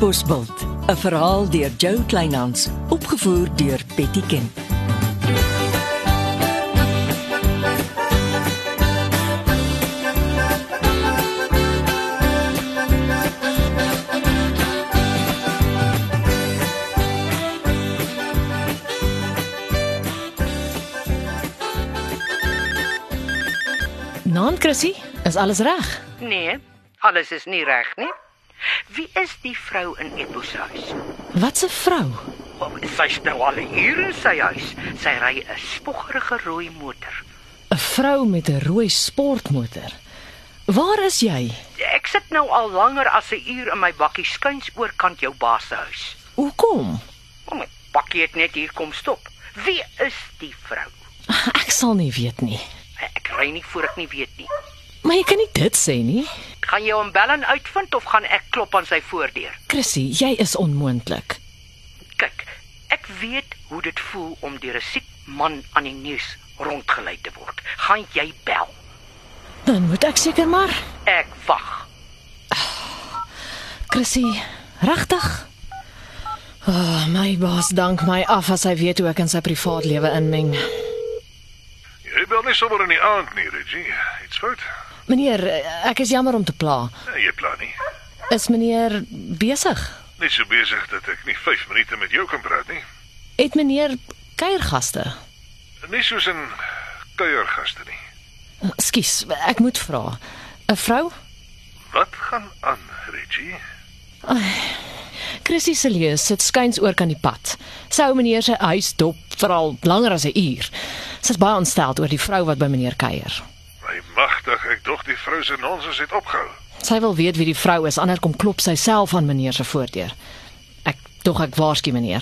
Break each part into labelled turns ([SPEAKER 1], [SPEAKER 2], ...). [SPEAKER 1] Bosbult, 'n verhaal deur Jo Kleinhans, opgevoer deur Betty Ken.
[SPEAKER 2] Naam Chrissy, is alles reg?
[SPEAKER 3] Nee, alles is nie reg nie. Wie is die vrou in Eppo se huis?
[SPEAKER 2] Wat 'n vrou.
[SPEAKER 3] Oh, Sy's nou al 'n uur in sy huis. Sy ry 'n spoggerige rooi motor.
[SPEAKER 2] 'n Vrou met 'n rooi sportmotor. Waar is jy?
[SPEAKER 3] Ek sit nou al langer as 'n uur in my bakkie skuins oorkant jou baas se huis.
[SPEAKER 2] Hoekom?
[SPEAKER 3] O, my bakkie het net hier kom stop. Wie is die vrou?
[SPEAKER 2] Ek sal nie weet nie.
[SPEAKER 3] Ek ry nie voor ek nie weet nie.
[SPEAKER 2] Maar jy kan nie dit sê nie.
[SPEAKER 3] Gaan jy hom bel en uitvind of gaan ek klop aan sy voordeur?
[SPEAKER 2] Chrissy, jy is onmoontlik.
[SPEAKER 3] Kyk, ek weet hoe dit voel om deur 'n siek man aan die nuus rondgelei te word. Gaan jy bel?
[SPEAKER 2] Dan moet ek seker maar.
[SPEAKER 3] Ek wag.
[SPEAKER 2] Chrissy, regtig? Oh, my baas dank my af as hy weet hoe ek in sy privaatlewe inmeng.
[SPEAKER 4] Jy bel nie sommer in die aand nie, Reggie. Dit's fout.
[SPEAKER 2] Meneer, ek is jammer om te pla.
[SPEAKER 4] Nee, jy plan nie.
[SPEAKER 2] Is meneer besig?
[SPEAKER 4] Net so besig dat ek nie 5 minute met jou kan praat nie.
[SPEAKER 2] Het meneer kuiergaste?
[SPEAKER 4] Nie soos 'n kuiergaste nie.
[SPEAKER 2] Skus, ek moet vra. 'n Vrou?
[SPEAKER 4] Wat gaan aan, Reggie?
[SPEAKER 2] Chrissy Celius sit skuins oor kan die pad. Sou meneer sy huis dop vir al langer as 'n uur. Sy is baie ontsteld oor die vrou wat by meneer kuier.
[SPEAKER 4] My magtig, ek dog die vrou se nonsens het opgehou.
[SPEAKER 2] Sy wil weet wie die vrou is, anders kom klop sy self aan meneer se voordeur. Ek tog ek waarsku meneer.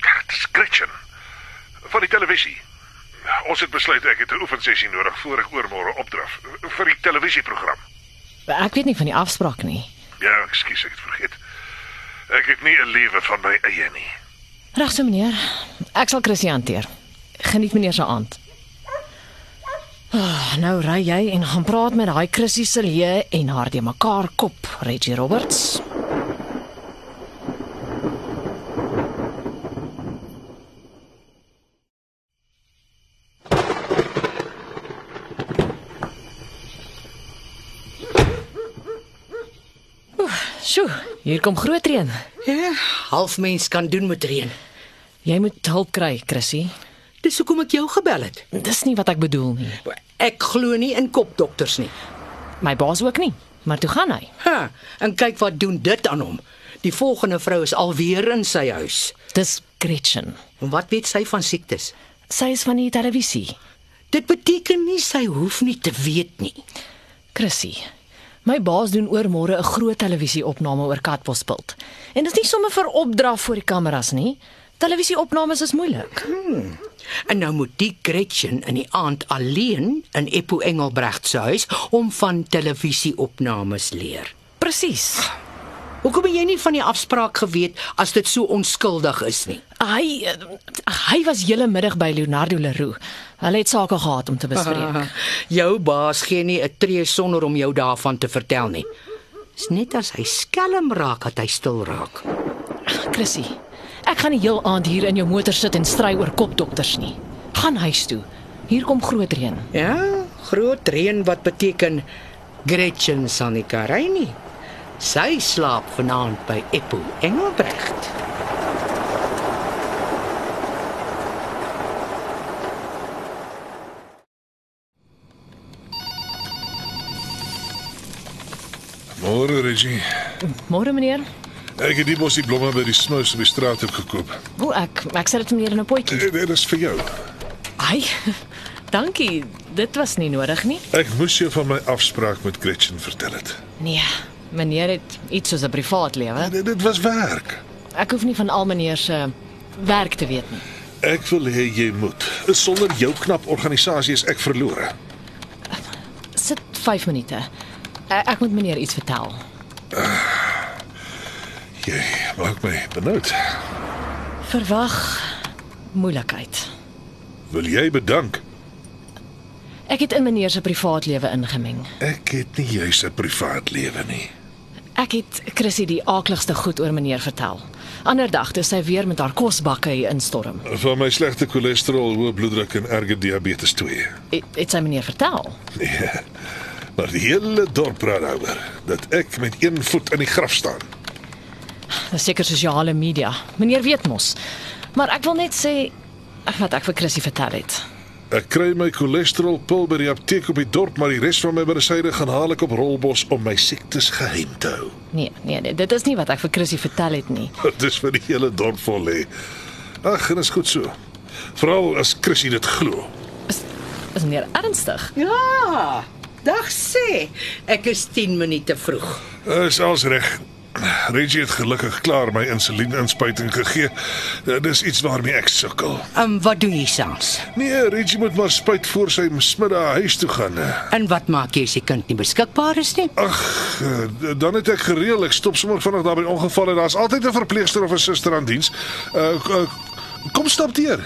[SPEAKER 4] Ja, Skritchen. Van die televisie. Ons het besluit ek het 'n oefensessie nodig voor ek oormôre opdraf vir die televisieprogram.
[SPEAKER 2] Ek weet nie van die afspraak nie.
[SPEAKER 4] Ja, ekskuus, ek het vergeet. Ek het nie 'n lewe van my eie nie.
[SPEAKER 2] Reg so meneer. Ek sal Chrissy hanteer. Geniet meneer se aand. Oh, nou ry jy en gaan praat met daai Chrissy Celius en haar de mekaar kop, Reggie Roberts. Sjoe, hier kom groot reën.
[SPEAKER 5] Ja, half mens kan doen met reën.
[SPEAKER 2] Jy moet hulp kry, Chrissy.
[SPEAKER 5] Dis hoekom ek jou gebel het.
[SPEAKER 2] Dis nie wat ek bedoel nie.
[SPEAKER 5] Ek glo nie in kopdokters nie.
[SPEAKER 2] My baas ook nie, maar toe gaan hy.
[SPEAKER 5] Ha, en kyk wat doen dit aan hom. Die volgende vrou is alweer in sy huis.
[SPEAKER 2] Dis Gretchen.
[SPEAKER 5] En wat weet sy van siektes?
[SPEAKER 2] Sy is van die televisie.
[SPEAKER 5] Dit beteken nie sy hoef nie te weet nie.
[SPEAKER 2] Chrissy. My baas doen oor môre 'n groot televisieopname oor Katbospult. En dis nie sommer vir opdrag voor die kameras nie. Televisieopnames is moeilik.
[SPEAKER 5] En nou moet die Gretchen in die aand alleen in Eppo Engelbregt se huis om van televisieopnames leer.
[SPEAKER 2] Presies.
[SPEAKER 5] Hoekom het jy nie van die afspraak geweet as dit so onskuldig is nie?
[SPEAKER 2] Hy eh, hy was hele middag by Leonardo Leroux. Hulle het sake gehad om te bespreek.
[SPEAKER 5] Jou baas gee nie 'n tree sonder om jou daarvan te vertel nie. Dis net as hy skelm raak dat hy stil raak.
[SPEAKER 2] Chrissy, ek gaan die heel aand hier in jou motor sit en stry oor kopdokters nie. Gaan huis toe. Hier kom groot reën.
[SPEAKER 5] Ja, groot reën wat beteken Gretchen sal nie kan ry nie. Sy slaap vanaand by Eppo Engelbrecht.
[SPEAKER 4] Môre, Reggie.
[SPEAKER 2] Môre meneer.
[SPEAKER 4] Ek het die bosie blomme by die snou se straat op gekoop.
[SPEAKER 2] O, ek ek sit dit meneer in 'n potjie.
[SPEAKER 4] Dit dit is vir jou.
[SPEAKER 2] Ai. Dankie. Dit was nie nodig nie.
[SPEAKER 4] Ek moes jou van my afspraak met Gretchen vertel het.
[SPEAKER 2] Nee, meneer het iets soos 'n privaat lewe.
[SPEAKER 4] Dit, dit was werk.
[SPEAKER 2] Ek hoef nie van al meneer se werk te weet nie.
[SPEAKER 4] Ek wil hê jy moet. Sonder jou knap organisasie is ek verlore.
[SPEAKER 2] Sit 5 minute. Eh, Ek, ek moet meneer iets vertel.
[SPEAKER 4] Jy maak my benoud.
[SPEAKER 2] Verwag moeilikheid.
[SPEAKER 4] Wil jy bedank?
[SPEAKER 2] Ek het in meneer se privaat lewe ingemeng.
[SPEAKER 4] Ek het nie juis 'n privaat lewe nie.
[SPEAKER 2] Ek het Chrissy die aakligste goed oor meneer vertel. Ander dag toe sy weer met haar kosbakke hier instorm.
[SPEAKER 4] Van my slegte cholesterol, hoë bloeddruk en erge diabetes 2.
[SPEAKER 2] Het, het sy meneer vertel?
[SPEAKER 4] Nee. Maar die hele dorp praat daaroor dat ek met een voet in die graf staan.
[SPEAKER 2] Dis seker sosiale media. Meneer weet mos. Maar ek wil net sê wat ek vir Chrissy vertel het.
[SPEAKER 4] Ek kry my cholesterolpil by die apteek op die dorp, maar die res van my medisyne gaan haal ek op Rolbos om my siektes geheim te hou.
[SPEAKER 2] Nee, nee, nee, dit is nie wat ek vir Chrissy vertel het nie.
[SPEAKER 4] Dit is vir die hele dorp vol lê. Ag, en is goed so. Veral as Chrissy dit glo.
[SPEAKER 2] Is, is meneer ernstig?
[SPEAKER 5] Ja. Dag sê, ek is 10 minute vroeg.
[SPEAKER 4] Is alles reg. Reggie het gelukkig klaar my insulien-inspuiting gegee. Eh, Dis iets waarmee ek sukkel.
[SPEAKER 5] En Ehm, wat doen jy soms?
[SPEAKER 4] Nee, Reggie moet maar spuit voor sy middag huis toe gaan.
[SPEAKER 5] En wat maak jy as die kind nie beskikbaar is nie?
[SPEAKER 4] Ag, eh, dan het ek gereël ek stop sommer vinnig daar by die ongeval en daar's altyd 'n verpleegster of 'n suster aan diens. Uh, k- uh, kom stap deur.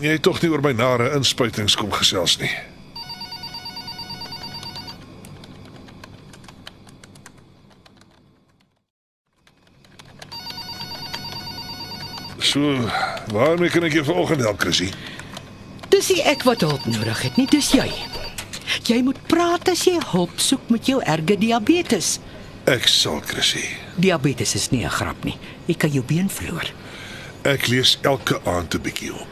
[SPEAKER 4] Jy het tog nie oor my nare inspuitings kom gesels nie. So, waarmee kan ek jou vanoggend help, Chrissy?
[SPEAKER 5] Dis nie ek wat hulp nodig het nie, dis jy. Jy moet praat as jy hulp soek met jou erge diabetes.
[SPEAKER 4] Ek sal, Chrissy.
[SPEAKER 5] Diabetes is nie 'n grap nie. Jy kan jou been verloor.
[SPEAKER 4] Ek lees elke aand 'n bietjie op.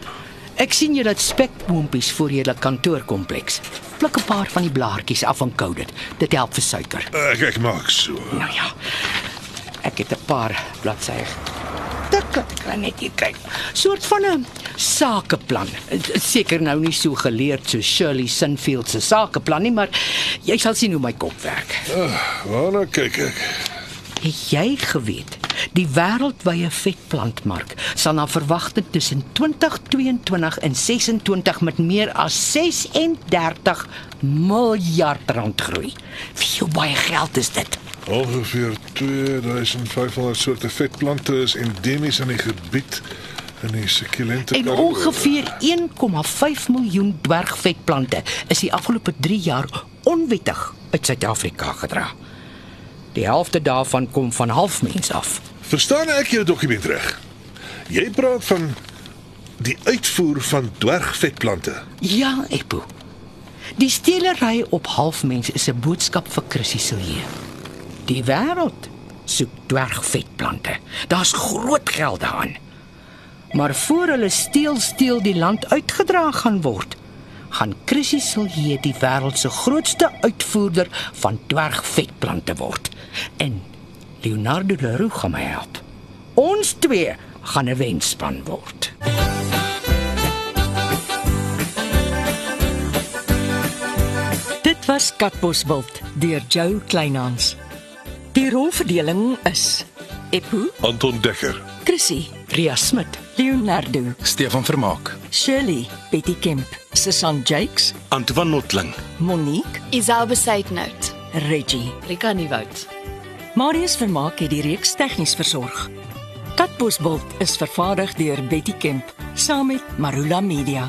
[SPEAKER 5] Ek sien jy dat spekboompies voor julle kantoorkompleks. Pluk 'n paar van die blaartjies af en kou dit. Dit help vir suiker.
[SPEAKER 4] Ek ek maak so.
[SPEAKER 5] Nou ja. Ek het 'n paar bladsye. Tik, ek kan net hier kyk. Soort van 'n sakeplan. Seker nou nie so geleerd so Shirley Sinfield se sakeplan nie, maar jy sal sien hoe my kop werk.
[SPEAKER 4] Waarna kyk ek?
[SPEAKER 5] Het jy geweet die wêreldwye vetplantmark sal na verwagting tussen 2022 en 26 met meer as 36 miljard rand groei? Hoe baie geld is dit?
[SPEAKER 4] Ongeveer 2500 soorte vetplante is endemies in die gebied in die sukkulente
[SPEAKER 5] En
[SPEAKER 4] Karoo.
[SPEAKER 5] ongeveer 1,5 miljoen dwergvetplante is die afgelope 3 jaar onwettig uit Suid-Afrika gedra. Die helfte daarvan kom van halfmens af.
[SPEAKER 4] Verstaan ek jou dokument reg? Jy praat van die uitvoer van dwergvetplante.
[SPEAKER 5] Ja, Epo. Die stelery op halfmens is 'n boodskap vir Chrissy Silje. Die wêreld soek dwergvetplante. Daar's groot geld daaraan. Maar voor hulle steel steel die land uitgedra gaan word, gaan Chrissy Silje die wêreld se grootste uitvoerder van dwergvetplante word. En Leonardo Leroux gaan my help. Ons twee gaan 'n wenspan word.
[SPEAKER 1] Dit was Katbosveld deur Jo Kleinhans. Die rolverdeling is Epo,
[SPEAKER 4] Anton Dekker.
[SPEAKER 1] Chrissy,
[SPEAKER 5] Ria Smit
[SPEAKER 1] Leonardo,
[SPEAKER 6] Stefan Vermaak,
[SPEAKER 1] Shirley, Betty Kemp, Susan Jakes,
[SPEAKER 6] Antoine Notling,
[SPEAKER 1] Monique,
[SPEAKER 7] Isel besit nout.
[SPEAKER 1] Reggie.
[SPEAKER 2] Rika Nieuwoud.
[SPEAKER 1] Marius Vermaak het die reeks tegnies versorg. Katbosveld is vervaardig deur Betty Kemp saam met Marula Media.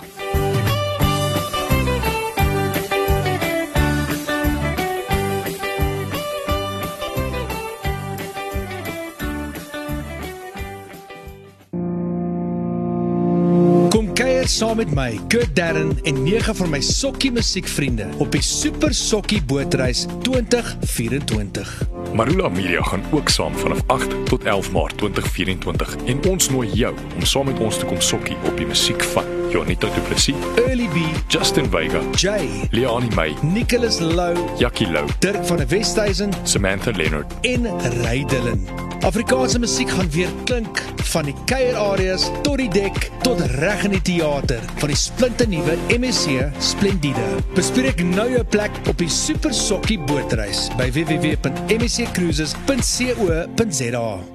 [SPEAKER 8] Kom kuier saam met my, Kurt Darren en nege van my sokkie musiekvriende op die Super Sokkie Bootreis 2024.
[SPEAKER 9] Marula Media gaan ook saam vanaf 8 tot 11 Maart 2024 en ons nooi jou om saam met ons te kom sokkie op die musiek van Jonita Du Plessis,
[SPEAKER 8] Early B,
[SPEAKER 9] Justin Vega,
[SPEAKER 8] Jay,
[SPEAKER 9] Leoni May,
[SPEAKER 8] Nicholas Lou,
[SPEAKER 9] Jackie Lou,
[SPEAKER 8] Dirk van der Westhuizen
[SPEAKER 9] Samantha Leonard.
[SPEAKER 8] en Rydelin. Afrikaanse musiek gaan weer klink van die kuierareas tot die dek tot reg in die teater van die splinternuwe MSC Splendide. Bespreek nou jou plek op die Super Sokkie Bootreis by www.msccruises.co.za.